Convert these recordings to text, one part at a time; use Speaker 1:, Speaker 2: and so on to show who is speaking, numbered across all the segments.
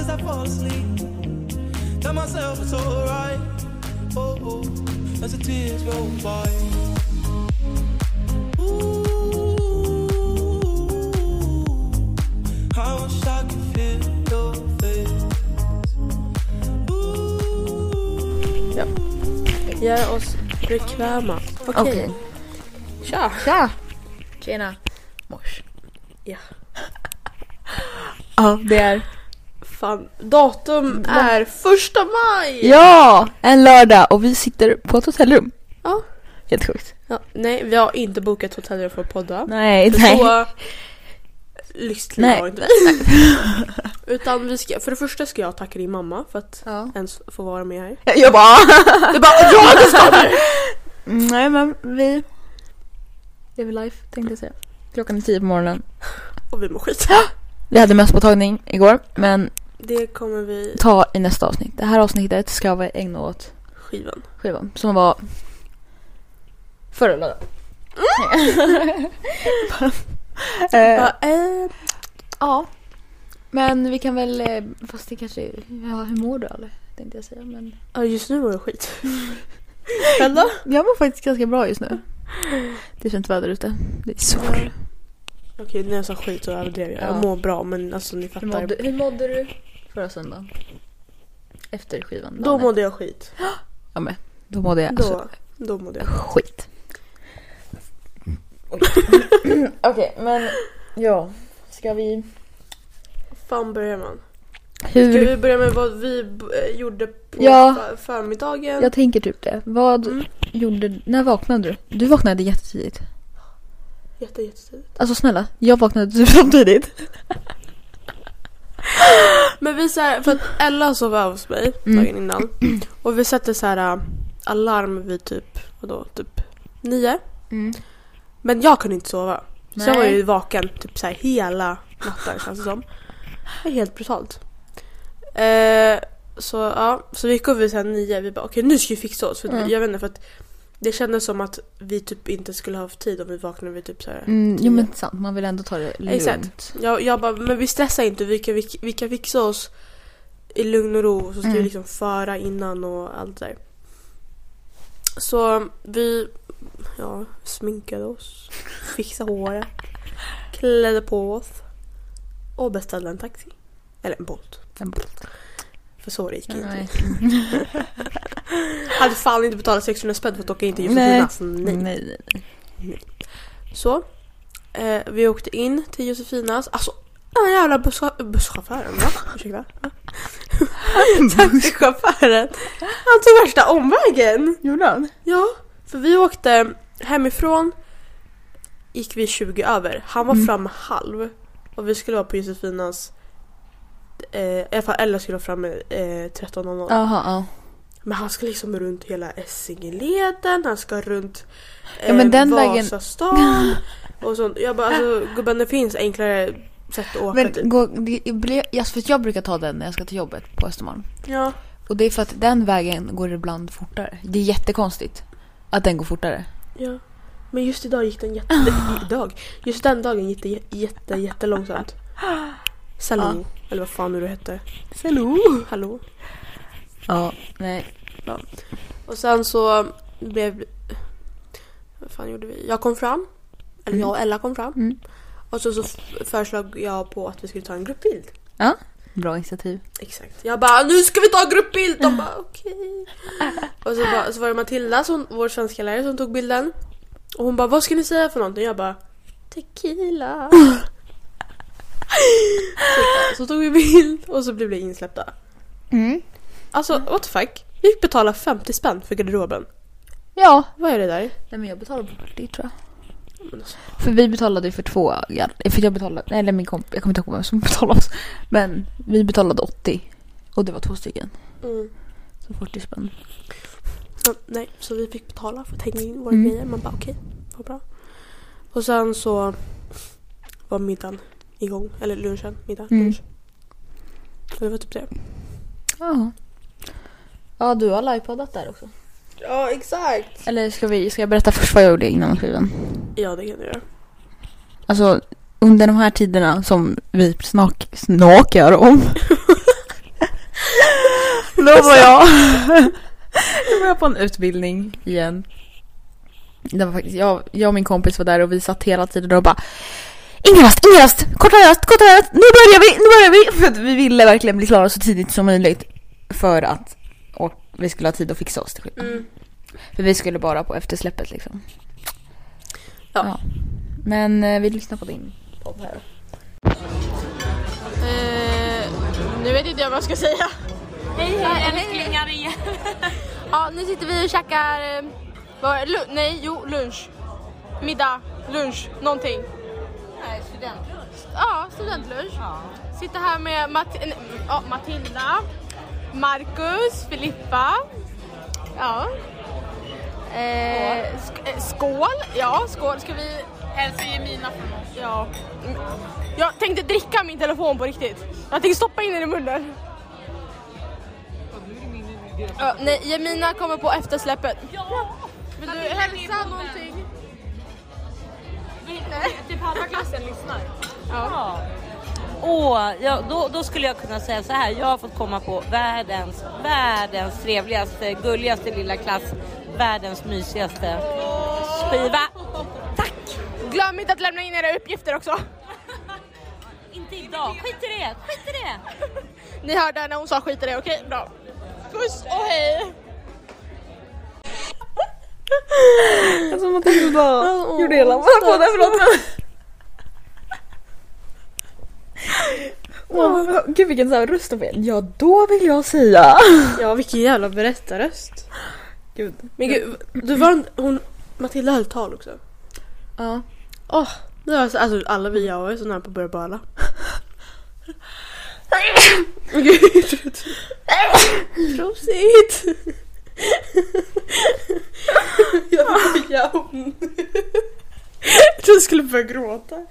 Speaker 1: I fall asleep. Tell myself it's alright. Oh, oh, as the tears roll by. Ooh, I wish I could feel your face.
Speaker 2: Gör oss bekväma. Okej.
Speaker 3: Okej.
Speaker 2: Tja!
Speaker 3: Tja! Tjena! Mors.
Speaker 2: Ja.
Speaker 3: Ja, det är...
Speaker 2: Fan, datum är första maj!
Speaker 3: Mm. Ja! En lördag och vi sitter på ett hotellrum.
Speaker 2: Ja.
Speaker 3: Helt sjukt.
Speaker 2: Ja, nej, vi har inte bokat hotellrum för att podda.
Speaker 3: Nej,
Speaker 2: För Så lyxigt liv
Speaker 3: Nej.
Speaker 2: har inte vi. Utan vi ska, för det första ska jag tacka din mamma för att
Speaker 3: Ja.
Speaker 2: ens få vara med här.
Speaker 3: Jag bara...
Speaker 2: Det bara ja Gustav!
Speaker 3: Nej men vi... Lever life tänkte jag säga. Klockan är tio på morgonen.
Speaker 2: Och vi mår skit.
Speaker 3: Vi hade mösspåtagning igår men
Speaker 2: Det kommer vi
Speaker 3: ta i nästa avsnitt. Det här avsnittet ska vi ägna åt
Speaker 2: skivan.
Speaker 3: skivan som var förra lördagen. Eh,
Speaker 2: Ja, eh,
Speaker 3: ja. Men vi kan väl, eh, fast det kanske, ja hur mår du eller? Tänkte jag säga men.
Speaker 2: ja, just nu mår jag skit. Själv då?
Speaker 3: Jag mår faktiskt ganska bra just nu. Det är fint väder ute. Det är sol.
Speaker 2: Okej, när jag sa skit så överdrev jag.
Speaker 3: Ja.
Speaker 2: Jag mår bra men alltså ni
Speaker 3: Hur
Speaker 2: fattar.
Speaker 3: mådde, hur mådde du förra söndagen? Efter skivan?
Speaker 2: Då
Speaker 3: dagen
Speaker 2: mådde jag skit.
Speaker 3: Då mådde jag alltså
Speaker 2: Då, då mådde jag
Speaker 3: skit. Okej, men ja. Ska vi...
Speaker 2: Fan börjar man? Ska
Speaker 3: Hur?
Speaker 2: vi börja med vad vi eh, gjorde på
Speaker 3: Ja.
Speaker 2: fa- förmiddagen?
Speaker 3: Jag tänker typ det. Vad
Speaker 2: Mm.
Speaker 3: gjorde... När vaknade du? Du vaknade jättetidigt.
Speaker 2: Jätte, jättetidigt.
Speaker 3: Alltså snälla, jag vaknade typ samtidigt.
Speaker 2: Men vi så här, för att Ella sov över hos mig
Speaker 3: Mm.
Speaker 2: dagen innan. Och vi satte så här äh, alarm vid typ, vadå, typ nio.
Speaker 3: Mm.
Speaker 2: Men jag kunde inte sova. Så jag
Speaker 3: Nej.
Speaker 2: var ju vaken typ så här hela natten känns det som. Det är helt brutalt. Eh, så ja, så vi gick upp vid så här nio. Vi bara okej nu ska vi fixa oss. För
Speaker 3: Mm.
Speaker 2: Jag vet inte för att det kändes som att vi typ inte skulle ha haft tid om vi vaknade vid typ så här.
Speaker 3: Mm, jo men sant, man vill ändå ta det lugnt.
Speaker 2: Exakt. Jag, jag bara men vi stressar inte. Vi kan, vi, vi kan fixa oss i lugn och ro. Och så ska vi
Speaker 3: Mm.
Speaker 2: liksom föra innan och allt det där. Så vi ja, sminkade oss, fixade håret, klädde på oss och beställde en taxi. Eller en Bolt.
Speaker 3: En
Speaker 2: För så det gick inte.
Speaker 3: Nej.
Speaker 2: Hade fan inte betalat 600 spänn för att åka in till
Speaker 3: Nej.
Speaker 2: Josefina. Så nej.
Speaker 3: Nej.
Speaker 2: Så. Eh, vi åkte in till Josefinas. Alltså den här jävla busschau- busschauffören va? Ursäkta. Taxichauffören. Han tog värsta omvägen.
Speaker 3: Gjorde han?
Speaker 2: Ja, för vi åkte hemifrån. Gick vi 20 över. Han var
Speaker 3: Mm.
Speaker 2: framme halv. Och vi skulle vara på Josefinas. Eh, I alla fall Ella skulle vara framme eh, 13.00.
Speaker 3: Jaha, ja.
Speaker 2: Men han ska liksom runt hela Essingeleden, han ska runt eh,
Speaker 3: Ja, men den vägen-
Speaker 2: Vasastan och sånt. Jag bara alltså gubben det finns enklare sätt att åka
Speaker 3: Men
Speaker 2: typ.
Speaker 3: gå, det blir, alltså för att jag brukar ta den när jag ska till jobbet på Östermalm.
Speaker 2: Ja.
Speaker 3: Och det är för att den vägen går ibland fortare. Det är jättekonstigt att den går fortare.
Speaker 2: ja. Men just idag gick den jätte... idag? Just den dagen gick det jätte, jätte, jättelångsamt. Salou, eller vad fan nu du hette.
Speaker 3: Hello.
Speaker 2: Hallå.
Speaker 3: Ja, nej.
Speaker 2: Och sen så blev... Vad fan gjorde vi? Jag kom fram. Eller jag och Ella kom fram.
Speaker 3: Mm.
Speaker 2: Och så, så f- föreslog jag på att vi skulle ta en gruppbild.
Speaker 3: Bra initiativ.
Speaker 2: Exakt. Jag bara nu ska vi ta gruppbild! De bara okej. Och så, bara, så var det Matilda, som, vår svenska lärare som tog bilden. Och hon bara vad ska ni säga för någonting? Jag bara tequila. så, så tog vi bild och så blev vi insläppta.
Speaker 3: Mm.
Speaker 2: Alltså what the fuck? Vi fick betala 50 spänn för garderoben.
Speaker 3: Ja.
Speaker 2: Vad är det där?
Speaker 3: Nej men jag betalar på 40 tror jag.
Speaker 2: Men alltså,
Speaker 3: För vi betalade ju för två, ja, för jag betalade, nej, eller min kompis, jag kommer inte ihåg vem som betalade oss. Men vi betalade 80. Och det var två stycken.
Speaker 2: Mm.
Speaker 3: Så 40 spänn.
Speaker 2: Så, nej, så vi fick betala för att hänga in våra
Speaker 3: Mm.
Speaker 2: grejer. Man bara okej, vad bra. Och sen så var middagen igång. Eller lunchen, middag,
Speaker 3: Mm.
Speaker 2: lunch. Och det var typ det.
Speaker 3: Ja. Ja, du har livepoddat där också.
Speaker 2: Ja, exakt.
Speaker 3: Eller ska, vi, ska jag berätta först vad jag gjorde innan skivan?
Speaker 2: Ja, det kan du göra.
Speaker 3: Alltså under de här tiderna som vi snak, snakar om. Då var jag... Då var jag på en utbildning igen. Det var faktiskt, jag, jag och min kompis var där och vi satt hela tiden och bara Ingen rast, ingen rast, korta rast, korta rast, nu börjar vi, nu börjar vi! För att vi ville verkligen bli klara så tidigt som möjligt. För att och vi skulle ha tid att fixa oss typ. till skillnad.
Speaker 2: Mm.
Speaker 3: För vi skulle bara på eftersläppet liksom.
Speaker 2: Ja.
Speaker 3: Men eh, vi lyssnar på din podd här.
Speaker 2: Eh, nu vet inte jag vad jag ska säga. Ja, nu sitter vi och käkar... eh, Vad var det? Lu- nej, jo, lunch. Middag, lunch, någonting. Ja, studentlunch. Sitter här med Mat- eh, ja, Matilda, Marcus, Filippa. Ja. Eh, sk- eh, skål! Ja, skål. Ska vi... Hälsa Jemina från oss. Ja. Mm. Jag tänkte dricka min telefon på riktigt. Jag tänkte stoppa in den i munnen. Ja, nej, Jemina kommer på eftersläppet. Ja! Vill du hälsa någonting?
Speaker 4: Typ halva klassen lyssnar.
Speaker 2: Ja.
Speaker 4: Åh, ja, då, då skulle jag kunna säga så här. Jag har fått komma på världens, världens trevligaste, gulligaste lilla klass. Världens mysigaste spiva. Tack!
Speaker 2: Glöm inte att lämna in era uppgifter också.
Speaker 4: Inte idag, skit i det, skit i det!
Speaker 2: Ni hörde när hon sa skit i det, okej? Bra. Puss och hej!
Speaker 3: Alltså Matilda
Speaker 2: Åh,
Speaker 3: gjorde hela podden, förlåt. Oh, gud vilken sån här röst hon fel. Ja då vill jag säga.
Speaker 2: Ja, vilken jävla berättarröst.
Speaker 3: Gud.
Speaker 2: Men gud, du var en, hon, Matilda höll tal också.
Speaker 3: Ja.
Speaker 2: Åh, det var så, alltså alla vi jag var ju så nära på att börja böla. Gud. Prosit! jag fick hon. Jag skulle börja gråta.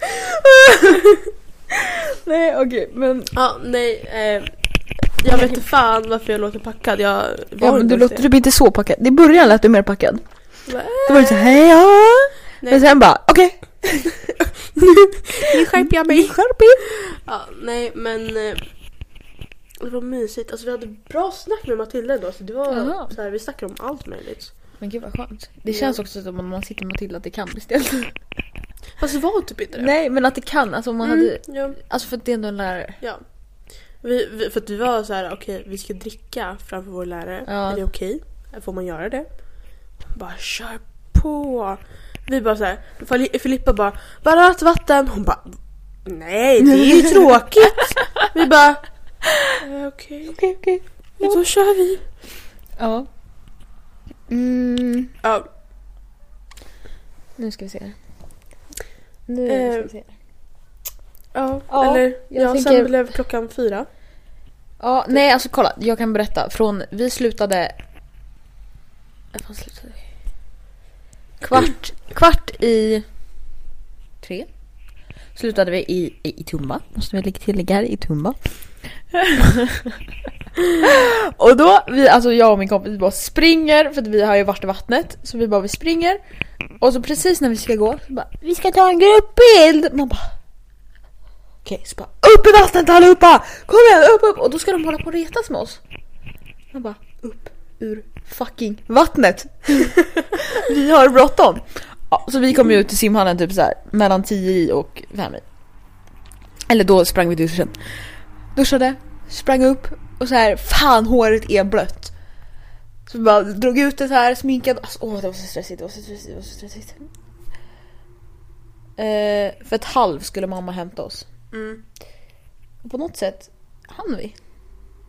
Speaker 3: Nej okej men.
Speaker 2: Ja, nej. Eh, jag vet inte fan varför jag låter packad. Jag var
Speaker 3: Ja, men
Speaker 2: inte
Speaker 3: du
Speaker 2: ens
Speaker 3: låter typ inte så packad. Det början lät du mer packad.
Speaker 2: det. Va?
Speaker 3: Då var du såhär hej ja. Men sen bara okej.
Speaker 2: Nu skärper jag mig.
Speaker 3: Skärp er.
Speaker 2: Ja, nej men eh, det var mysigt. Alltså vi hade bra snack med Matilda idag. Så det var
Speaker 3: Jaha.
Speaker 2: så här, vi snackade om allt möjligt.
Speaker 3: Men gud vad skönt. Det
Speaker 2: Ja.
Speaker 3: känns också som om man sitter med Matilda att det kan bli stelt.
Speaker 2: Fast det var typ inte det.
Speaker 3: Nej men att det kan, alltså om man
Speaker 2: Mm,
Speaker 3: hade,
Speaker 2: ja,
Speaker 3: alltså för att det är ändå en lärare.
Speaker 2: ja. Vi, vi, för att vi var så här, okej vi ska dricka framför vår lärare.
Speaker 3: Ja.
Speaker 2: Är det okej? Får man göra det? Hon Bara kör på. Vi bara så här, Fili- Filippa bara varannat vatten. Hon bara nej det är ju tråkigt. Vi bara eh, okej.
Speaker 3: Okej okej.
Speaker 2: Då kör vi.
Speaker 3: Ja. Mm,
Speaker 2: Ja,
Speaker 3: nu ska vi se här. Nu
Speaker 2: Eh,
Speaker 3: ska vi se. här.
Speaker 2: ja,
Speaker 3: Ja,
Speaker 2: eller
Speaker 3: jag
Speaker 2: ja,
Speaker 3: tänker-
Speaker 2: sen blev klockan fyra.
Speaker 3: Ja, nej alltså kolla, jag kan berätta. Från, vi slutade... Vad fan slutade vi? Kvart, kvart i... Tre? Slutade vi i, i, i Tumba. Måste vi lägga tillägga här, i Tumba. och då, vi, alltså jag och min kompis vi bara springer för att vi har ju varit i vattnet. Så vi bara vi springer. Och så precis när vi ska gå så bara vi ska ta en gruppbild. Man bara Okej, så bara upp i vattnet allihopa! Kom igen, upp, upp! Och då ska de hålla på och retas med oss. Man bara upp ur fucking vattnet. vi har bråttom. Ja, så vi kom ju ut till simhallen typ så här mellan 10 i och 5 i. Eller då sprang vi till duschen. Duschade, sprang upp och så här fan håret är blött. Så vi bara drog ut det så här sminkade. Alltså, åh det var så stressigt, det var så stressigt, det var så stressigt. Eh, för ett halv skulle mamma hämta oss.
Speaker 2: Mm.
Speaker 3: Och på något sätt hann vi.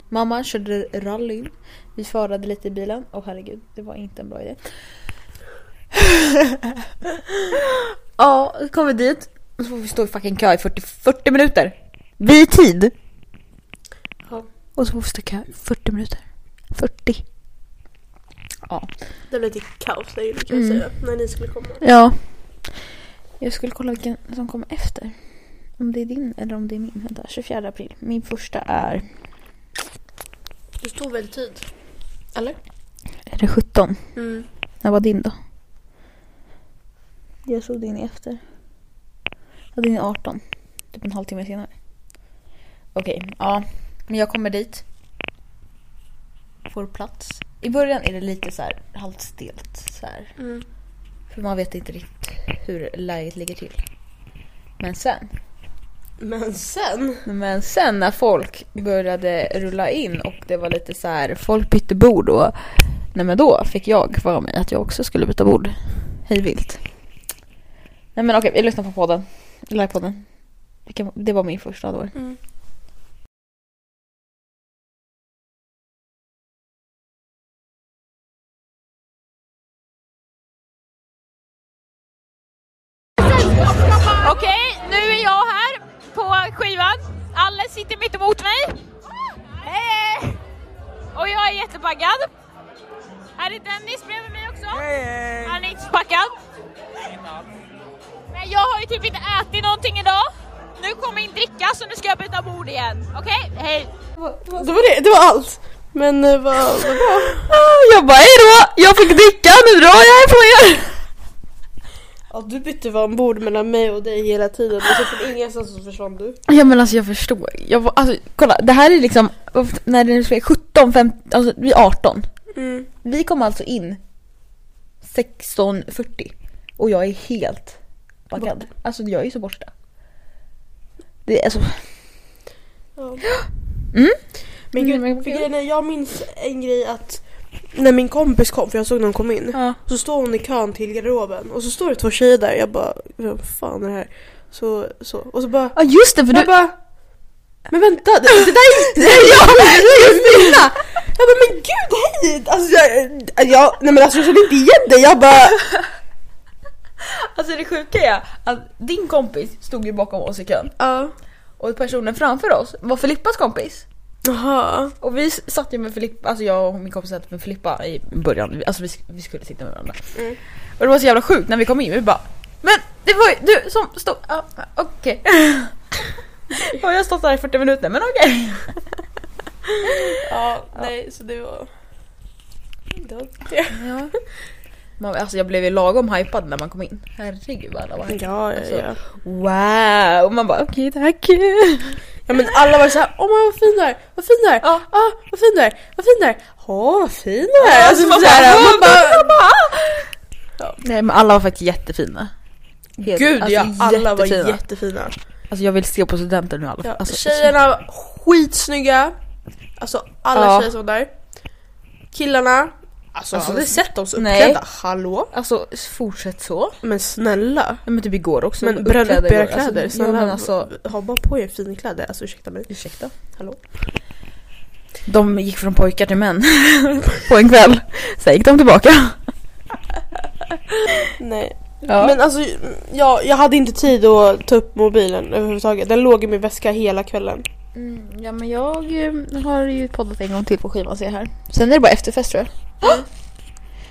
Speaker 3: Mamma körde rally. Vi förade lite i bilen. Åh herregud, det var inte en bra idé. ja, så kom vi dit. Och så får vi stå i fucking kö i 40, 40 minuter. Vi är i tid.
Speaker 2: Ja.
Speaker 3: Och så får vi stå i kö i 40 minuter. 40. Ja.
Speaker 2: Det blev lite kaos där inne kan jag
Speaker 3: Mm.
Speaker 2: säga, när ni skulle komma.
Speaker 3: Ja. Jag skulle kolla vilken som kommer efter. Om det är din eller om det är min. Vänta, 24 april. Min första är...
Speaker 2: Det tog väl tid?
Speaker 3: Är det 17?
Speaker 2: Mm.
Speaker 3: När var din då? Jag såg din efter. Ja, din är 18. Typ en halvtimme senare. Okej, ja. Men jag kommer dit. får plats. I början är det lite så här halvt stelt så här. För man vet inte riktigt hur läget ligger till. Men sen.
Speaker 2: Men sen?
Speaker 3: Men sen när folk började rulla in och det var lite så här, folk bytte bord och nej men då fick jag för mig att jag också skulle byta bord. Hej vilt. Nej men okej, vi lyssnar på podden. Livepodden. Vilken- Det var min första då.
Speaker 5: Okej, nu är jag här på skivan. Alice sitter mitt emot mig. Hej! Och jag är jättepackad. Här är Dennis bredvid mig också. Han är inte så packad. Men jag har ju typ inte ätit någonting idag. Nu kommer min dricka så nu ska jag byta bord igen. Okej, hej!
Speaker 2: Det var Alltså, det, det var allt. Men eh, vad, vad bra.
Speaker 3: Ah, Jag bara hejdå, jag fick dricka, nu drar jag ifrån er.
Speaker 2: Ja, du bytte ombord mellan mig och dig hela tiden typ och så från ingenstans så försvann du.
Speaker 3: Ja men alltså jag förstår. Jag var, alltså, kolla, det här är liksom, när det nu ska 17, 15, alltså vi är 18.
Speaker 2: Mm.
Speaker 3: Vi kom alltså in 16.40 och jag är helt packad. Alltså jag är så borta. Det är alltså,
Speaker 2: Ja.
Speaker 3: Mm.
Speaker 2: Men gud,
Speaker 3: Mm, men-
Speaker 2: för grejen är, jag minns en grej att när min kompis kom, för jag såg någon kom in,
Speaker 3: Ja.
Speaker 2: så står hon i kön till garderoben och så står det två tjejer där jag bara, vad fan är det här? Så, så, och så bara,
Speaker 3: ja just det för du...
Speaker 2: jag bara, men vänta, det, det där är
Speaker 3: Ja, Kristina!
Speaker 2: Jag bara, men gud hej! Alltså jag, jag, nej men alltså jag kände inte igen dig, jag bara,
Speaker 3: Alltså det sjuka är att din kompis stod ju bakom oss i kön
Speaker 2: ja,
Speaker 3: och personen framför oss var Filippas kompis.
Speaker 2: jaha,
Speaker 3: Och vi s- satt ju med Filippa, alltså jag och min kompis satt med Filippa i början, Vi- alltså vi, sk- vi skulle sitta med varandra.
Speaker 2: Mm.
Speaker 3: Och det var så jävla sjukt när vi kom in, vi bara Men det var ju du som stod, ja, okej. Har jag stått där i 40 minuter? Men okej.
Speaker 2: ja, nej så det var, det var
Speaker 3: Ja. Man, alltså jag blev ju lagom hypad när man kom in. Herregud vad alla var hypade.
Speaker 2: Ja, ja,
Speaker 3: Alltså,
Speaker 2: ja.
Speaker 3: Wow! Och man bara okej tack.
Speaker 2: ja men alla var såhär, åh men vad fin du är, vad fin du är,
Speaker 3: Ja.
Speaker 2: ah, vad fin du är, vad fin du är, åh vad fin du är.
Speaker 3: Alltså, man
Speaker 2: så här,
Speaker 3: bara,
Speaker 2: man bara,
Speaker 3: Nej men alla var faktiskt jättefina. Helt-
Speaker 2: Gud
Speaker 3: alltså,
Speaker 2: ja, alla var
Speaker 3: jättefina.
Speaker 2: jättefina.
Speaker 3: Alltså jag vill se på studenten nu i alla fall.
Speaker 2: Ja,
Speaker 3: Alltså,
Speaker 2: tjejerna var skitsnygga, alltså alla
Speaker 3: Ja.
Speaker 2: tjejer som var där. Killarna, alltså, alltså hade ni sett dem så
Speaker 3: Nej.
Speaker 2: uppklädda? Hallå?
Speaker 3: Alltså fortsätt så.
Speaker 2: Men snälla.
Speaker 3: Ja, men typ igår också.
Speaker 2: Men bränn upp
Speaker 3: Uppkläder
Speaker 2: era
Speaker 3: igår.
Speaker 2: kläder,
Speaker 3: Alltså, ja,
Speaker 2: snälla.
Speaker 3: men alltså,
Speaker 2: Ha bara på er finkläder, alltså ursäkta mig.
Speaker 3: ursäkta.
Speaker 2: Hallå?
Speaker 3: De gick från pojkar till män på en kväll. Sen gick de tillbaka.
Speaker 2: Nej.
Speaker 3: Ja.
Speaker 2: Men alltså, jag, jag hade inte tid att ta upp mobilen överhuvudtaget. Den låg i min väska hela kvällen.
Speaker 3: Mm, ja men jag eh, har ju poddat en gång till på skivan ser jag här. Sen är det bara efterfest tror jag.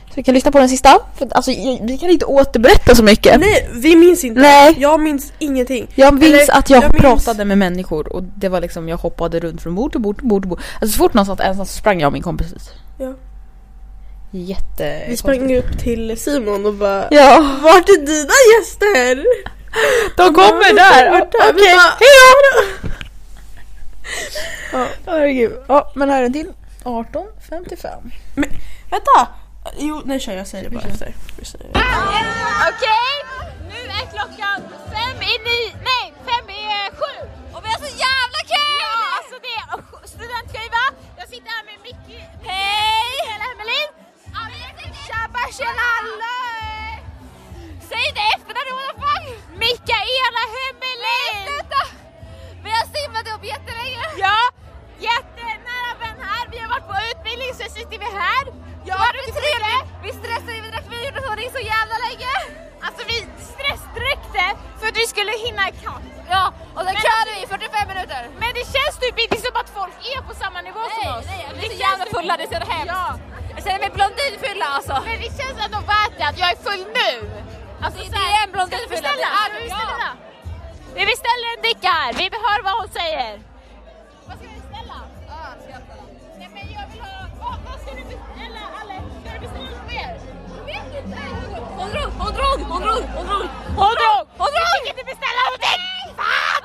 Speaker 3: Så vi kan lyssna på den sista. För, alltså, jag- vi kan inte återberätta så mycket.
Speaker 2: Nej, vi minns inte.
Speaker 3: Nej.
Speaker 2: Jag minns ingenting.
Speaker 3: Jag minns
Speaker 2: Eller,
Speaker 3: att jag,
Speaker 2: jag minns-
Speaker 3: pratade med människor och det var liksom jag hoppade runt från bord till bord till bord. Till bord. Alltså så fort någon satt ensam så sprang jag och min kompis ut.
Speaker 2: Ja.
Speaker 3: Jätte...
Speaker 2: Vi sprang upp till Simon och bara
Speaker 3: Ja.
Speaker 2: Vart är dina gäster?
Speaker 3: De kommer
Speaker 2: de
Speaker 3: där!
Speaker 2: kommer där.
Speaker 3: Okej,
Speaker 2: Vi bara-
Speaker 3: hejdå! Ja, herregud. Ja, men här är en till. 18.55.
Speaker 2: Vänta! Jo, nej kör jag säger det bara efter. Jag säger det.
Speaker 5: Okej, nu är klockan fem i nio, nej fem i eh, sju. Och vi har så jävla kul! Ja, alltså det är och sj- studentskiva. Jag sitter här med Micke, Hej! Mikaela Hemmelin. Tjabba tjolalle! Säg inte efternamn Olof! Mikaela Hemmelin! Nej sluta! Vi har simmat ihop jättelänge. Ja, jättenära vän här. Vi har varit på utbildning så sitter vi här. Jag har druckit fyra. Vi stressade, vi drack vin och tog så jävla länge. Alltså vi stressdräckte för att vi skulle hinna ikapp. Ja, och sen körde vi i 45 minuter. Men det känns typ inte som att folk är på samma nivå som oss. Nej, vi är så jävla fulla, det är så hemskt. Ja. Jag känner mig blondinfylla alltså. Men det känns ändå värt det att jag är full nu. Alltså, det, är en blondinfylla. Ska vi beställa? Ska vi beställa? Vi beställer en dricka här, vi hör vad hon säger. Vad ska vi beställa? Öl ska jag beställa. Nej men jag vill ha... Vad, vad ska du beställa Alice? Ska du beställa något mer? Jag vet inte. Hon drog, hon drog, hon drog, hon drog. Hon drog, hon drog! Jag fick inte beställa någonting! Fan!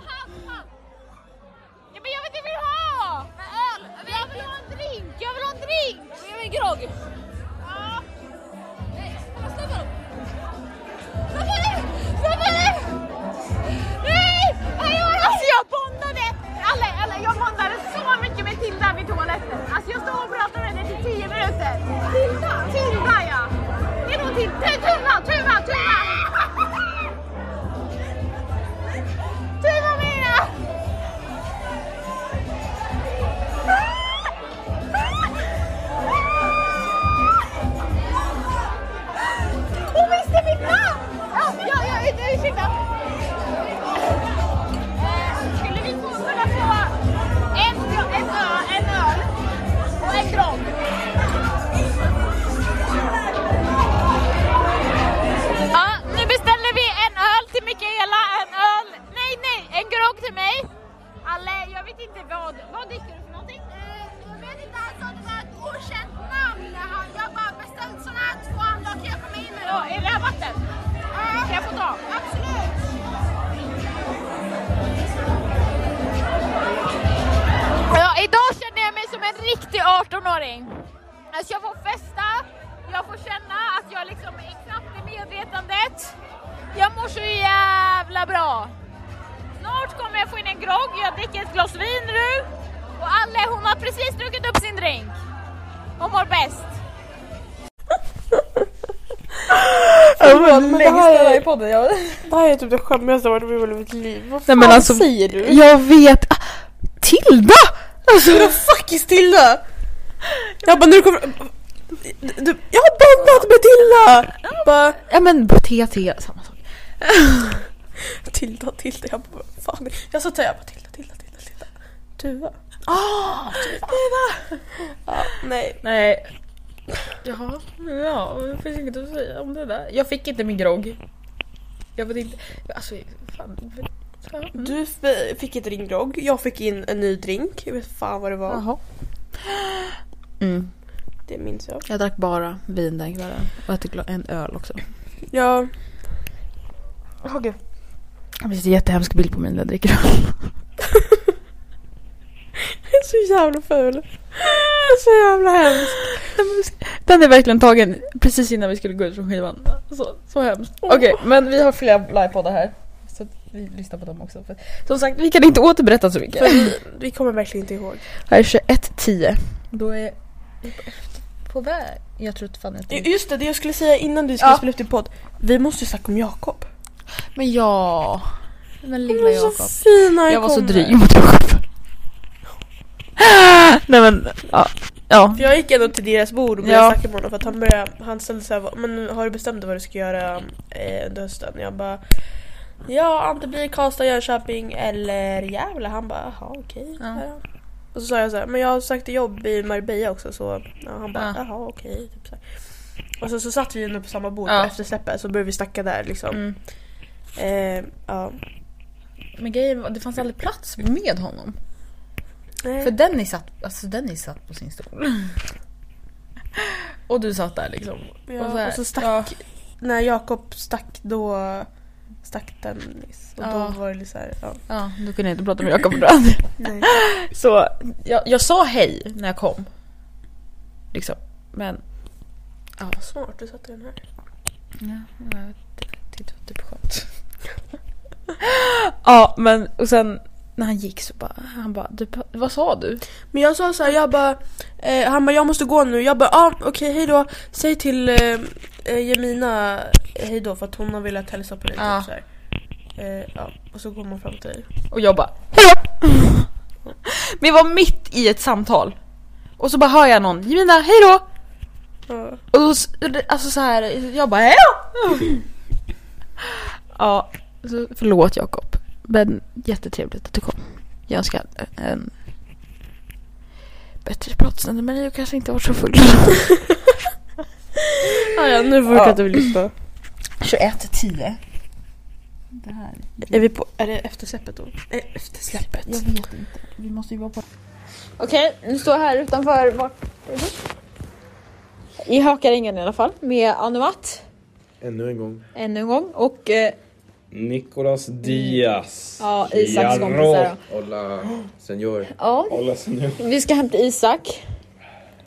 Speaker 5: Ja, men jag vet inte vad jag vill ha! Men öl! Jag vill ha en drink, jag vill ha en drink! Alltså jag bondade, alla, alla, jag bondade så mycket med Tilda vid toaletten. Alltså jag stod och pratade med henne i tio minuter. Tilda? Tilda ja. Det är nog Tilda. Tu- Tuva, Tuva, Tuva! Tuva Mira! Hon visste mitt namn! Ja, ja, ja, ursäkta. Eh, Skulle vi få kunna få en, en, ö, en öl och en grogg? Ja, nu beställer vi en öl till Mikaela, en öl, nej nej, en grogg till mig. Alle, jag vet inte vad, vad dricker du för någonting?
Speaker 6: Jag vet inte, han sa det var ett okänt namn. Han- Jag bara beställt såna här två andra. Kan jag komma in nu?
Speaker 5: Ja, är det här vatten? Kan jag få ta?
Speaker 6: Absolut.
Speaker 5: Ja, idag känner jag mig som en riktig 18-åring. Alltså jag får festa, jag får känna att jag liksom är knappt i medvetandet. Jag mår så jävla bra. Snart kommer jag få in en grogg, jag dricker ett glas vin nu. Och Alle hon har precis druckit upp sin drink. Hon mår bäst.
Speaker 2: Förlåt, men det här, är,
Speaker 3: podden. Jag...
Speaker 2: det här är typ det skämmigaste jag varit med om i mitt liv. Vad
Speaker 3: Nej,
Speaker 2: fan
Speaker 3: men alltså,
Speaker 2: säger du?
Speaker 3: Jag vet. Ah, Tilda! Alltså,
Speaker 2: Vadå fuckis Tilda? Jag bara, när du kommer... Du, jag har bandat med Tilda! Bara,
Speaker 3: ja men TT, samma sak.
Speaker 2: Tilda, Tilda, jag bara, vad fan. Jag satt där, jag bara, Tilda, Tilda, Tilda, Tilda. Tuva. Ah, Tuva! Ja, nej.
Speaker 3: Nej. Jaha, ja, det finns inget att säga om det där. Jag fick inte min grogg. Jag vet inte, alltså fan. fan.
Speaker 2: Du f- fick ett ringrogg, jag fick in en ny drink. Jag vet fan vad det var.
Speaker 3: Jaha. Mm.
Speaker 2: Det minns jag.
Speaker 3: Jag drack bara vin den kvällen och ett gla- en öl också.
Speaker 2: Ja.
Speaker 3: Det finns en jättehemsk bild på mig när jag dricker
Speaker 2: Jag är så jävla ful. Jag är så jävla hemsk.
Speaker 3: Den är verkligen tagen precis innan vi skulle gå ut från skivan. Så, så hemskt. Okej, men vi har flera livepoddar här. Så att vi lyssnar på dem också. För, som sagt, vi kan inte återberätta så mycket.
Speaker 2: Vi kommer verkligen inte ihåg.
Speaker 3: Här är 21.10. Då är vi på, på väg. Jag tror att fan inte...
Speaker 2: Just det, det jag skulle säga innan du skulle
Speaker 3: Ja.
Speaker 2: spela upp din podd. Vi måste ju snacka om Jakob.
Speaker 3: Men ja... Men lilla
Speaker 2: De är
Speaker 3: Jakob.
Speaker 2: så fina
Speaker 3: Jag var så
Speaker 2: kommer.
Speaker 3: dryg mot Jakob. Nej men, ja. Ja.
Speaker 2: För jag gick ändå till deras bord och började
Speaker 3: Ja.
Speaker 2: snacka med honom för att han började, han ställde såhär, men har du bestämt dig vad du ska göra eh, under hösten? Jag bara, ja antingen blir det Karlstad, Jönköping eller Gävle. Han bara, jaha okej.
Speaker 3: Ja.
Speaker 2: Ja. Och så sa jag så här, men jag sökte jobb i Marbella också så ja, han bara,
Speaker 3: Ja.
Speaker 2: jaha okej. Typ så här. och så, så satt vi ändå på samma bord
Speaker 3: Ja.
Speaker 2: på eftersläppet så började vi snacka där liksom.
Speaker 3: Mm.
Speaker 2: Eh, ja.
Speaker 3: Men grejen var, det fanns aldrig plats med honom.
Speaker 2: Nej.
Speaker 3: För Dennis satt, alltså Dennis satt på sin stol. Och du satt där liksom.
Speaker 2: Ja, och,
Speaker 3: så här,
Speaker 2: så stack,
Speaker 3: ja.
Speaker 2: när Jakob stack då stack Dennis. Och
Speaker 3: Ja.
Speaker 2: då var det lite såhär, ja.
Speaker 3: Ja, då kunde jag inte prata med Jakob Brand.
Speaker 2: Nej.
Speaker 3: Så jag, jag sa hej när jag kom. Liksom. Men... Ja,
Speaker 2: Vad smart du satte den här.
Speaker 3: Ja, jag tyckte det var typ skönt. ja, men och sen när han gick så bara, han bara, du, vad sa du?
Speaker 2: Men jag sa såhär, jag bara, eh, han bara jag måste gå nu. Jag bara ah, okej hejdå. Säg till eh, eh, Jemina eh, hejdå för att hon har velat hälsa på dig.
Speaker 3: Ja.
Speaker 2: Typ, så här. Eh, ja. Och så går man fram till dig.
Speaker 3: Och jag bara, hejdå! men jag var mitt i ett samtal. Och så bara hör jag någon, Jemina, hejdå!
Speaker 2: Ja.
Speaker 3: Och då, s- alltså så här, jag bara hejdå! ja, så förlåt Jakob. Men jättetrevligt att du kom. Jag önskar en bättre pratstund men jag kanske inte var så full.
Speaker 2: Ah, ja nu
Speaker 3: fortsätter
Speaker 2: vi lyssna.
Speaker 3: 21.10. Det här,
Speaker 2: Är vi på, är det eftersläppet då? Eh, eftersläppet.
Speaker 3: jag vet inte. Vi måste ju vara på...
Speaker 5: Okej, nu står jag här utanför vart i Hakaringen i alla fall med Anuat
Speaker 7: Ännu en gång.
Speaker 5: ännu en gång och
Speaker 3: eh,
Speaker 7: Nicolas
Speaker 3: Mm.
Speaker 7: Diaz.
Speaker 5: Ja, Isaks kompisar,
Speaker 7: Hola, senor.
Speaker 5: ja,
Speaker 7: Hola, senor.
Speaker 5: vi ska hämta Isak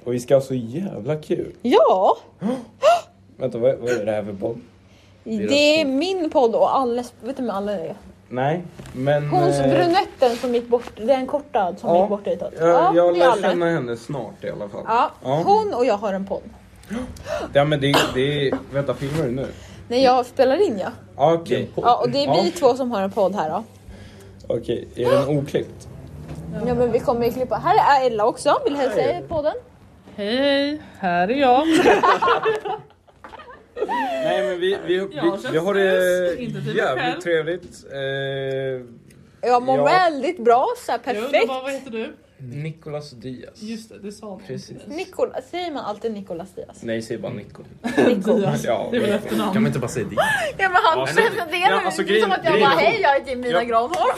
Speaker 7: Och vi ska ha så jävla kul.
Speaker 3: Ja,
Speaker 7: Vänta, vad, vad är det här för podd?
Speaker 3: det är min podd och alles, vet du vem alla är?
Speaker 7: Nej, men...
Speaker 3: Hon
Speaker 7: eh,
Speaker 3: brunetten som gick bort, den korta som
Speaker 7: Ja.
Speaker 3: gick bort utåt.
Speaker 7: Jag, jag
Speaker 3: det är
Speaker 7: lär
Speaker 3: alla.
Speaker 7: känna henne snart i alla fall.
Speaker 3: Ja,
Speaker 7: Ja.
Speaker 3: hon och jag har en podd.
Speaker 7: Ja, men det, det är... Vänta, filmar du nu?
Speaker 3: Nej, jag spelar in ja.
Speaker 7: Ja, Okej.
Speaker 3: ja och det är vi
Speaker 7: Ja.
Speaker 3: två som har en podd här då.
Speaker 7: Okej, är den oklippt?
Speaker 3: Ja men vi kommer ju klippa. Här är Ella också, vill hälsa i podden.
Speaker 8: Hej, här är jag.
Speaker 7: Nej, men vi, vi, vi,
Speaker 8: har
Speaker 7: vi har det
Speaker 8: köpt snus, inte till mig själv.
Speaker 7: jävligt trevligt. Eh,
Speaker 3: Jag mår
Speaker 7: Ja.
Speaker 3: väldigt bra, så här,
Speaker 8: Jag undrar
Speaker 3: perfekt.
Speaker 8: bara, vad heter du?
Speaker 7: Nicolas Diaz.
Speaker 8: Just det, det sa hon.
Speaker 7: Precis.
Speaker 3: Nikola, säger man alltid Nikolas Diaz?
Speaker 7: Nej, säg bara Nico.
Speaker 8: Diaz.
Speaker 7: Ja,
Speaker 8: Det är väl efternamn.
Speaker 9: inte bara säga det?
Speaker 3: Ja men han
Speaker 7: Ja, men- presenterar ja, alltså, mig. Det är som grejen- att jag grejen- bara, "Hej,
Speaker 3: jag heter Mina
Speaker 7: Ja.
Speaker 3: Granholm.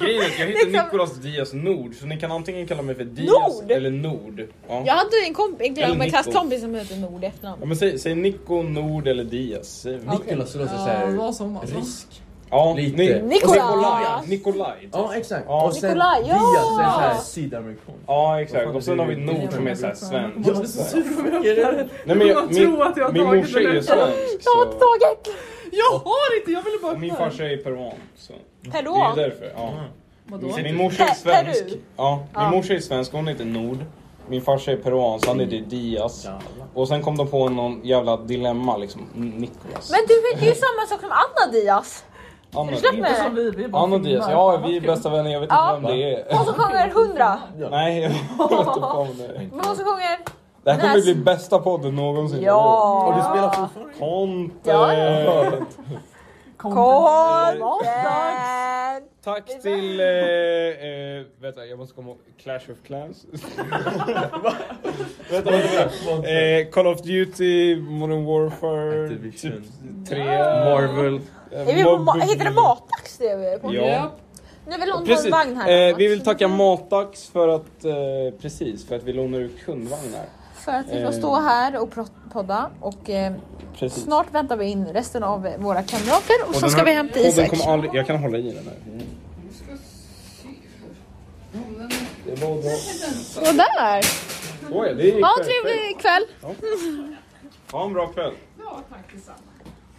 Speaker 7: Grejen är att jag heter
Speaker 3: Liksom-
Speaker 7: Nicolas Diaz Nord, så ni kan antingen kalla mig för Diaz
Speaker 3: Nord?
Speaker 7: eller Nord. Ja.
Speaker 3: Jag hade en, komp- en,
Speaker 7: Eller
Speaker 3: en
Speaker 7: Nico.
Speaker 3: klasskompis som hette Nord i
Speaker 7: Ja,
Speaker 3: efternamn.
Speaker 7: men säg, säg Nico, Nord eller Diaz. Säg-
Speaker 9: Nikolas det låter
Speaker 8: Ja, det var
Speaker 9: såhär...
Speaker 8: som alltså.
Speaker 9: Rysk.
Speaker 7: Ja,
Speaker 9: Lite.
Speaker 7: ni-
Speaker 3: Nicolas.
Speaker 7: och Nikolaj. Nikolaj.
Speaker 9: Ja exakt.
Speaker 7: typ. Ja.
Speaker 9: Och sen
Speaker 3: Nikolaj, ja!
Speaker 9: Diaz är såhär sydamerikanskt.
Speaker 7: Ja
Speaker 9: Vad
Speaker 7: exakt,
Speaker 9: fan
Speaker 7: och sen
Speaker 9: är
Speaker 7: har vi
Speaker 9: det?
Speaker 7: Nord som är såhär
Speaker 8: Jag
Speaker 7: svensk.
Speaker 8: var så sur om jag öppnade.
Speaker 7: Nej, men jag,
Speaker 8: Man
Speaker 7: min,
Speaker 8: tror att jag har
Speaker 7: min
Speaker 8: tagit
Speaker 7: morsa är
Speaker 8: den
Speaker 7: ju
Speaker 8: efter.
Speaker 7: svensk.
Speaker 3: Jag har inte
Speaker 7: Så,
Speaker 3: tagit!
Speaker 8: Jag har inte, jag ville bara
Speaker 7: och min
Speaker 8: öppna.
Speaker 7: farsa är peruan. Så. Det är ju
Speaker 3: Hallå?
Speaker 7: därför. Ja.
Speaker 8: Vadå?
Speaker 7: Min morsa är
Speaker 3: Per-
Speaker 7: svensk.
Speaker 3: Peru?
Speaker 7: Ja, min
Speaker 3: Ja.
Speaker 7: morsa är svensk, hon heter Nord. Min farsa är peruan, så han heter
Speaker 8: Mm.
Speaker 7: Diaz. Och sen kom de på någon jävla dilemma liksom. Nikolas.
Speaker 3: Men du heter ju samma sak som Anna Diaz.
Speaker 7: Anna
Speaker 3: Släpp
Speaker 7: Diaz.
Speaker 3: mig.
Speaker 8: Som vi, vi är bara
Speaker 7: Anna
Speaker 8: filmar.
Speaker 7: Diaz, ja vi är bästa vänner, jag vet inte
Speaker 3: Ja.
Speaker 7: vem det är.
Speaker 3: Hon som sjunger 100.
Speaker 7: Nej, jag vet inte vem det är.
Speaker 3: Men hon som sjunger...
Speaker 7: Det här kommer
Speaker 3: Näs.
Speaker 7: bli bästa podden någonsin.
Speaker 9: Och du
Speaker 3: Ja.
Speaker 9: spelar fortfarande?
Speaker 7: Content! Eh,
Speaker 3: Content!
Speaker 7: Tack till... Eh, eh, vänta, jag måste komma ihåg. Clash of Clans. Va? vänta, vänta, vänta. Eh, Call of Duty, Modern Warfare,
Speaker 9: Activision.
Speaker 7: typ 3. Marvel.
Speaker 3: Är vi på ma- Heter det Matdags det vi är på?
Speaker 7: Ja,
Speaker 3: Nu vill hon ha en
Speaker 7: precis.
Speaker 3: vagn här. Mm.
Speaker 7: Eh,
Speaker 3: Max.
Speaker 7: vi vill tacka Matax för att, eh, precis, för att vi lånar ut kundvagnar.
Speaker 3: För att vi får
Speaker 7: eh,
Speaker 3: stå här och pro- podda och eh,
Speaker 7: Precis.
Speaker 3: snart väntar vi in resten av eh, våra kamrater och
Speaker 7: Och
Speaker 3: så
Speaker 7: den
Speaker 3: ska
Speaker 7: här
Speaker 3: vi hämta
Speaker 7: podden
Speaker 3: Isak.
Speaker 7: kommer aldrig- Jag kan hålla i den här. Mm. Det var bra.
Speaker 3: Sådär!
Speaker 7: Oj, det gick
Speaker 3: Ha en
Speaker 7: perfekt.
Speaker 3: trevlig kväll!
Speaker 7: Ha en bra kväll. Ja, tack detsamma.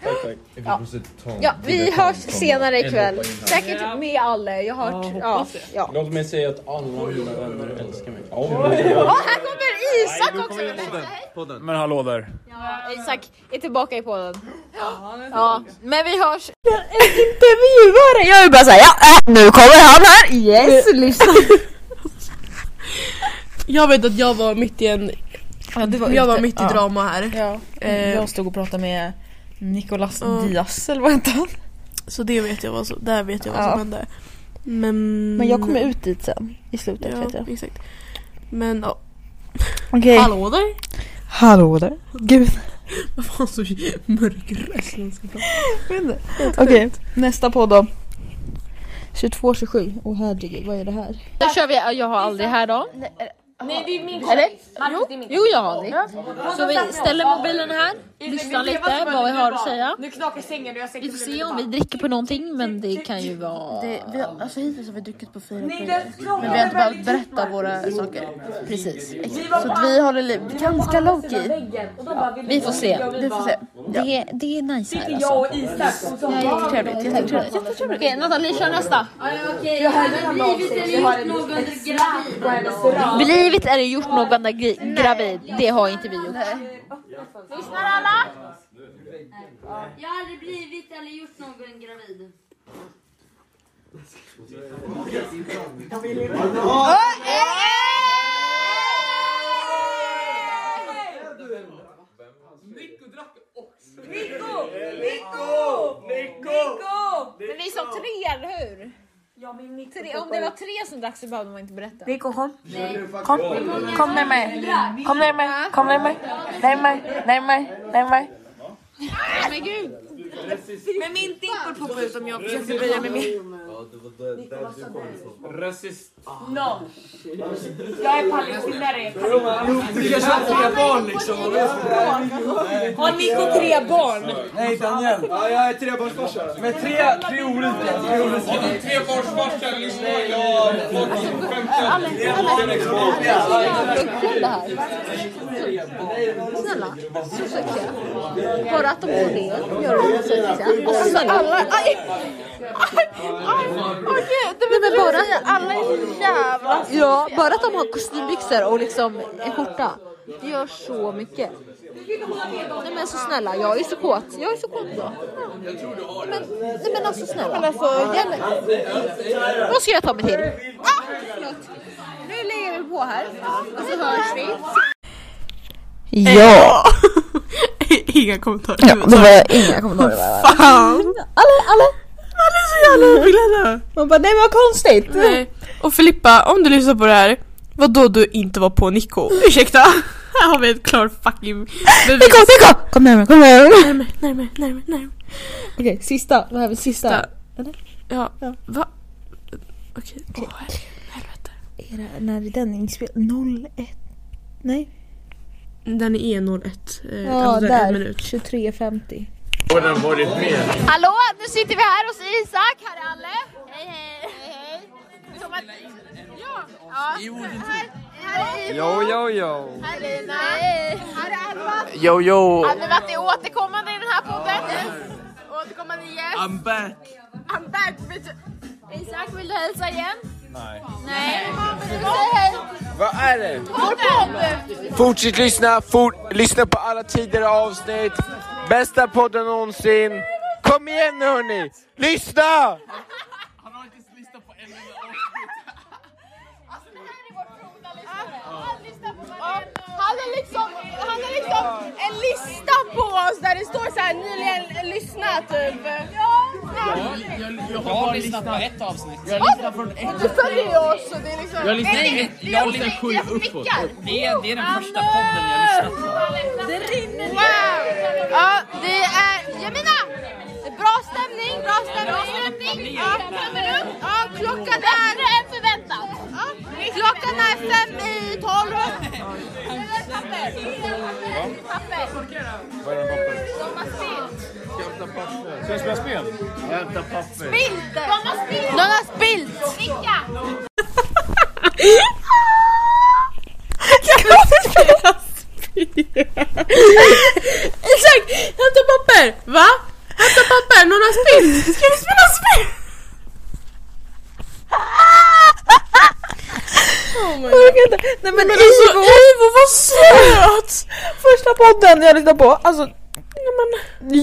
Speaker 7: Tack,
Speaker 9: Ja. Prostitution.
Speaker 3: Ja, vi hörs senare ikväll.
Speaker 9: hoppa in här.
Speaker 3: Säkert med alla. Jag har hört... Ja, ja.
Speaker 7: Låt mig säga att alla mina vänner älskar mig.
Speaker 3: Åh, här kommer Isak också!
Speaker 9: Men hallå där.
Speaker 3: Ja, Isak är tillbaka i podden. Ja, men vi hörs.
Speaker 10: Intervjuare! Jag är bara såhär, ja äh, nu kommer han här! Yes! Lyssna!
Speaker 2: Jag vet att jag var mitt i en... jag var mitt i drama här.
Speaker 10: Ja.
Speaker 2: Eh,
Speaker 10: Jag stod och pratade med Nicolas
Speaker 2: Ja.
Speaker 10: Diaz eller vad hette han?
Speaker 2: Så det vet jag vad som, där vet jag vad
Speaker 10: Ja.
Speaker 2: som hände. Men...
Speaker 10: Men jag kommer ut dit sen i slutet vet
Speaker 2: Ja,
Speaker 10: jag.
Speaker 2: exakt. Men ja.
Speaker 10: Okej.
Speaker 2: Hallå där!
Speaker 10: Hallå där. Gud.
Speaker 2: Vad fan så mörkröd
Speaker 10: Okej, nästa podd då. 22.27. Åh herregud, vad är det här?
Speaker 3: Då kör vi Jag har aldrig här då.
Speaker 4: Nej, det är min
Speaker 3: Eller? Jo, jo jag har aldrig. Så vi ställer mobilen här, lyssnar lite vad vi har att säga.
Speaker 4: Nu knakar sängen och jag
Speaker 3: Vi får se om vi dricker på någonting men det kan ju vara...
Speaker 11: alltså hittills har vi druckit på fyra
Speaker 4: Nej, den
Speaker 11: Men vi har inte
Speaker 4: knakar
Speaker 11: behövt berätta våra saker.
Speaker 3: Precis.
Speaker 11: Så att vi håller li- ganska low key.
Speaker 4: väggen. Och de bara, vill
Speaker 3: Vi får se.
Speaker 11: Vi får se.
Speaker 3: Det, det är nice här alltså.
Speaker 4: jag och Isak. Och så
Speaker 3: Det är jättetrevligt, jättetrevligt. Jättetrevligt. Okej Nathalie kör nästa.
Speaker 11: alltså.
Speaker 3: Blivit eller gjort någon gri- gravid? Det har inte vi gjort.
Speaker 4: Lyssnar alla? Jag har aldrig blivit eller gjort någon gravid.
Speaker 3: Men vi sa tre eller hur? Tre, om det var tre som drack så behövde man inte berätta.
Speaker 11: Nico kom. Kom. Kom närmare. Kom närmare. Kom närmare. Närmare. Närmare. Närmare.
Speaker 3: Men gud!
Speaker 11: Men min dimper poppade ut om jag försökte böja mig mer.
Speaker 12: Ja, det var där, där du kom ifrån.
Speaker 13: Rasist.
Speaker 14: No. Jag är palestinare.
Speaker 13: Du kanske har tre barn liksom. vad vet du?
Speaker 14: Har Nico tre barn?
Speaker 13: Nej, Daniel. Ja, jag är trebarnsfarsa. Med tre, tre olika. Tre olika.
Speaker 15: Har du trebarnsfarsa lyssnar jag.
Speaker 8: Snälla, försöka. Bara att de får det gör det så Och så
Speaker 2: Alltså, alla...
Speaker 8: alla...
Speaker 2: Aj! Aj! Aj! Åh gud! Det
Speaker 8: Nej, men
Speaker 2: var
Speaker 8: bara-
Speaker 2: bara... Alla är jävla...
Speaker 8: Ja, bara att de har kostymbyxor och liksom en skjorta. Det gör så mycket. Nej men så snälla, jag är så kåt. Jag är så kåt idag. Men, nej men alltså snälla. Men alltså, Vad ska jag ta mig till? Ah, förlåt. nu lägger vi på här och så hörs vi.
Speaker 3: Ja!
Speaker 2: Inga kommentarer.
Speaker 3: Ja, det var inga kommentarer.
Speaker 2: Fan!
Speaker 3: Alla, alla! Alla är så jävla uppglada! Man bara, nej men vad konstigt!
Speaker 2: Nej. Och Filippa, om du lyssnar på det här, vad då du inte var på Nico? Ursäkta! Här har vi ett klart fucking bevis.
Speaker 3: Nico, Nico! Kom närmare, kom närmare!
Speaker 2: Närmare, närmare, närmare, närmare.
Speaker 3: Okej, sista. Då har vi sista.
Speaker 2: Sista.
Speaker 3: Eller?
Speaker 2: Ja, va? Okej, åh helvete.
Speaker 3: Är det, när är den inspelad? 01? Nej?
Speaker 2: Den är 101. Eh,
Speaker 3: Ja,
Speaker 2: alltså,
Speaker 3: där.
Speaker 2: En minut.
Speaker 3: 23.50.
Speaker 16: Har den varit med?
Speaker 5: Hallå, nu sitter vi här hos Isak. Här är Alle. Hej, hej. hej, hej. Som att... Ja, ja. Här, här är Ivo.
Speaker 9: Yo, yo, yo.
Speaker 5: Här är Lina. Här är Alva.
Speaker 9: Yo, yo.
Speaker 5: Hade varit återkommande i den här podden. Återkommande gäst.
Speaker 9: I'm back.
Speaker 5: I'm back. bitch. Isak, vill du hälsa igen?
Speaker 9: Nej.
Speaker 5: Nej. Säg hej.
Speaker 9: Vad är det?
Speaker 5: Vår podd.
Speaker 9: Fortsätt lyssna, fort, lyssna på alla tidigare avsnitt. Bästa podden någonsin. Kom igen nu hörni, lyssna!
Speaker 2: Han har liksom, han har liksom en lista på oss alltså, där det står så här nyligen lyssnat typ.
Speaker 13: Jag har bara lyssnat på ett avsnitt. Jag lyssnar från ett
Speaker 2: Du följer ju oss och det är liksom...
Speaker 13: Jag lyssnar, jag,
Speaker 2: Nej, vi
Speaker 13: jag
Speaker 2: också-
Speaker 13: lyssnar sju
Speaker 2: jag
Speaker 13: uppåt.
Speaker 2: nickar.
Speaker 13: Det är, det är den första podden jag lyssnar på.
Speaker 5: Det rinner wow. Ja, det är... Jamina! Bra stämning, bra stämning. Ja, tummen upp. Ja, klockan är... Bättre än förväntat. Ja, klockan är fem i tolv. Papper. Papper.
Speaker 16: Vad är den papper?
Speaker 5: De har spilt.
Speaker 16: Ska jag spela spel? Hämta papper.
Speaker 5: Spilt! De har spilt! De har spilt! Dricka!
Speaker 3: Jag kan inte spela spel!
Speaker 2: Exakt! Hämta papper! Va? Hämta papper, någon har spilt! Ska ni spela spel?
Speaker 3: Jag orkar inte. Nej men, men alltså, Ivo!
Speaker 2: vad söt!
Speaker 3: Första podden jag lyssnade på, alltså...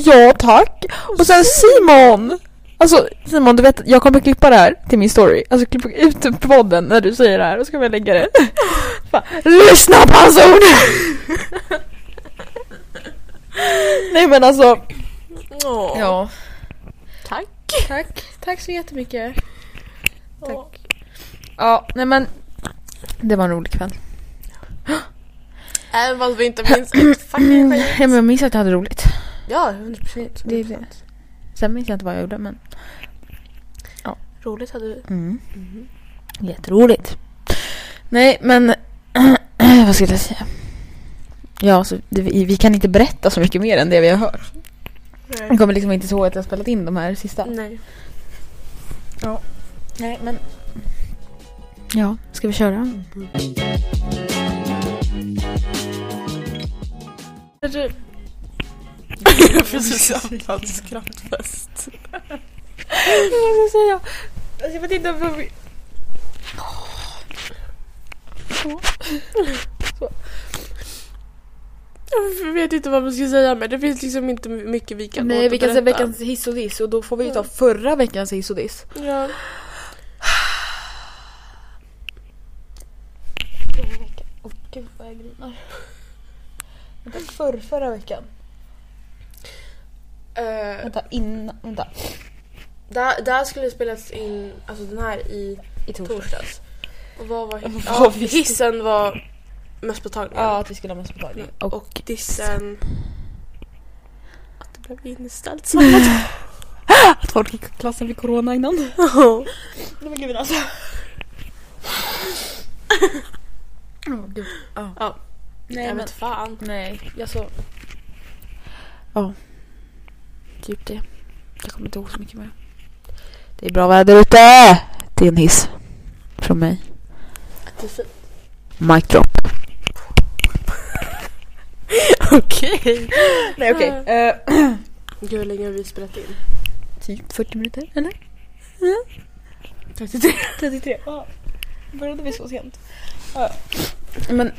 Speaker 3: Ja tack! Och sen Simon! Alltså Simon du vet, jag kommer klippa det här till min story. Alltså klippa ut podden när du säger det här och så kommer jag lägga det. Fan, Lyssna på hans ord! Nej men alltså, ja.
Speaker 2: Tack.
Speaker 3: Tack. Tack så jättemycket. Tack. Ja, nej men. Det var en rolig kväll.
Speaker 2: Även fast vi inte minns ett fucking skit.
Speaker 3: Ja, men jag minns att jag hade roligt.
Speaker 2: Ja, 100 procent.
Speaker 3: Mm. Det är det. Sen minns jag inte vad jag gjorde men
Speaker 2: Roligt hade vi.
Speaker 3: mm. jätteroligt. Nej men vad skulle jag säga? Ja, så det, vi, vi kan inte berätta så mycket mer än det vi har hört.
Speaker 2: Nej.
Speaker 3: Jag kommer liksom inte ihåg att jag spelat in de här sista.
Speaker 14: Mm.
Speaker 2: Nej.
Speaker 3: Ja. Nej men. Ja, ska vi köra?
Speaker 2: Precis öppnat skrattfest.
Speaker 3: Vad ska jag säga? Jag vet inte vad vi... Så.
Speaker 2: Så. Jag vet inte vad man ska säga men det finns liksom inte mycket vi kan
Speaker 14: Nej vi kan Mm. säga
Speaker 2: återberätta.
Speaker 14: veckans hiss och diss och då får vi ju ta förra veckans hiss och diss.
Speaker 2: Ja.
Speaker 14: Förra veckan. Åh gud vad jag grinar. Vänta, förr, förra veckan?
Speaker 2: Eh,
Speaker 3: Vänta, innan... Vänta.
Speaker 17: Där, där skulle det spelas in, alltså den här i, I torsdags. Och vad var hissen?
Speaker 3: Vad
Speaker 17: Ja,
Speaker 3: visste-
Speaker 17: hissen var mösspåtagningen.
Speaker 3: Ja, att vi skulle ha mösspåtagning.
Speaker 17: Och, dissen.
Speaker 2: Att det blev inställt samma dag.
Speaker 3: Att folk i klassen fick corona innan.
Speaker 18: Nej men gud alltså.
Speaker 3: Oh, gud. Ja.
Speaker 2: Ja.
Speaker 18: Nej
Speaker 2: Jag
Speaker 18: men
Speaker 2: vet fan.
Speaker 18: Nej, jag så.
Speaker 3: Ja. Typ det. Jag kommer inte ihåg så mycket mer. Det är bra väder ute! Det är en hiss. Från mig.
Speaker 2: Det är fint.
Speaker 3: Mic drop.
Speaker 2: Okej.
Speaker 3: Nej okej. Eh,
Speaker 2: Gud hur länge har vi spelat in?
Speaker 3: typ 40 minuter eller?
Speaker 18: 33. 33. Ja. Ah, Började vi så sent? Ja.
Speaker 3: Men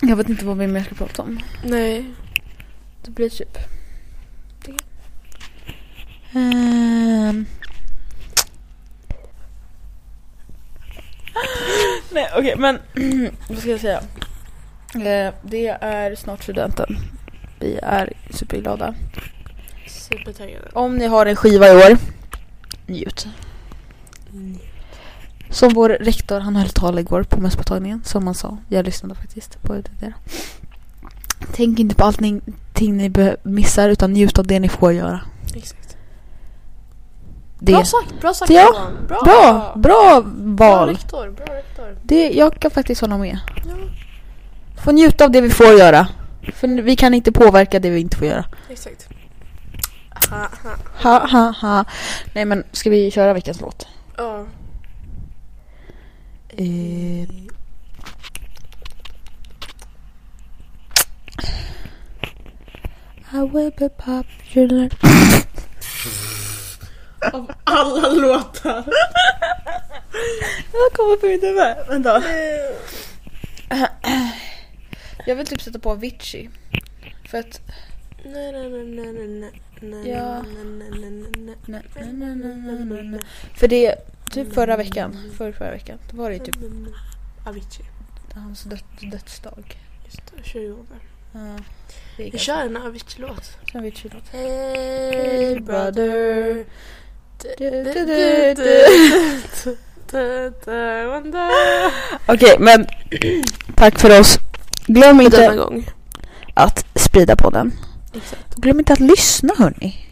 Speaker 3: jag vet inte vad vi mer ska prata om.
Speaker 2: Nej.
Speaker 3: Det blir typ det. Ehm,
Speaker 2: Nej okej men vad ska jag säga?
Speaker 3: eh, det är snart studenten. Vi är superglada.
Speaker 2: Supertaggade.
Speaker 3: Om ni har en skiva i år, njut. Som vår rektor, han höll tal igår på mässpåtagningen som han sa. Jag lyssnade faktiskt på det där. Tänk inte på allting ting ni be- missar utan njut av det ni får göra.
Speaker 2: Exakt.
Speaker 3: Det.
Speaker 2: Bra sagt, bra sagt
Speaker 3: Ja,
Speaker 2: Johan. Bra.
Speaker 3: Bra, bra
Speaker 2: Bra
Speaker 3: val.
Speaker 2: rektor, bra rektor.
Speaker 3: Det, jag kan faktiskt hålla med. Få njuta av det vi får göra. För vi kan inte påverka det vi inte får göra.
Speaker 2: Exakt. Aha, aha.
Speaker 3: Ha, ha, ha. Nej men ska vi köra veckans låt?
Speaker 2: Ja.
Speaker 3: Eh, I will be popular.
Speaker 2: Av alla låtar.
Speaker 3: Jag kommer på mitt huvud. Vänta. Jag vill typ sätta på Avicii. För att...
Speaker 2: Nej, nej, nej, nej, nej, nej, nej,
Speaker 3: Ja.
Speaker 2: nej, nej, nej, nej, nej.
Speaker 3: Nej, nej, nej, nej, nej, nej, nej. För det... Typ förra veckan. Förra, förra veckan. Då var det ju typ
Speaker 2: Avicii.
Speaker 3: hans död, dödsdag.
Speaker 2: Just det, 20 år.
Speaker 3: Ja. det är
Speaker 2: Vi kör en Avicii-låt.
Speaker 3: ganska- Sen Avicii-låt.
Speaker 2: Hey
Speaker 3: Hey brother. Okej men tack för oss. Glöm
Speaker 2: Denna
Speaker 3: inte
Speaker 2: gång.
Speaker 3: att sprida podden. Glöm inte att lyssna hörni.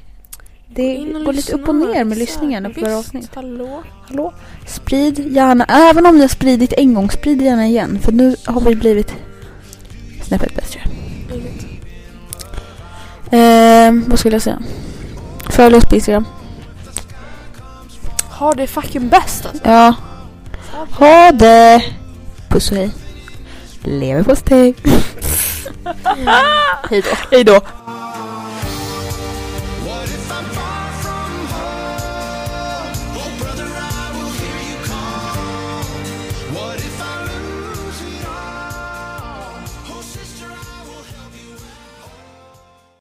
Speaker 3: Det
Speaker 2: In och
Speaker 3: går lite
Speaker 2: lyssna.
Speaker 3: upp och ner med
Speaker 2: Exakt.
Speaker 3: lyssningen och förra
Speaker 2: Visst,
Speaker 3: avsnitt.
Speaker 2: Hallå.
Speaker 3: Hallå? Sprid gärna, även om ni har spridit en gång, sprid gärna igen. För nu har vi blivit snäppet bättre.
Speaker 2: Inget.
Speaker 3: Ehm, vad skulle jag säga? Följ oss på Instagram.
Speaker 2: Har det fucking bäst alltså.
Speaker 3: Ja. Ha det! Puss och hej. Leverpastej. hej då. Hej då.
Speaker 1: What if I'm falling?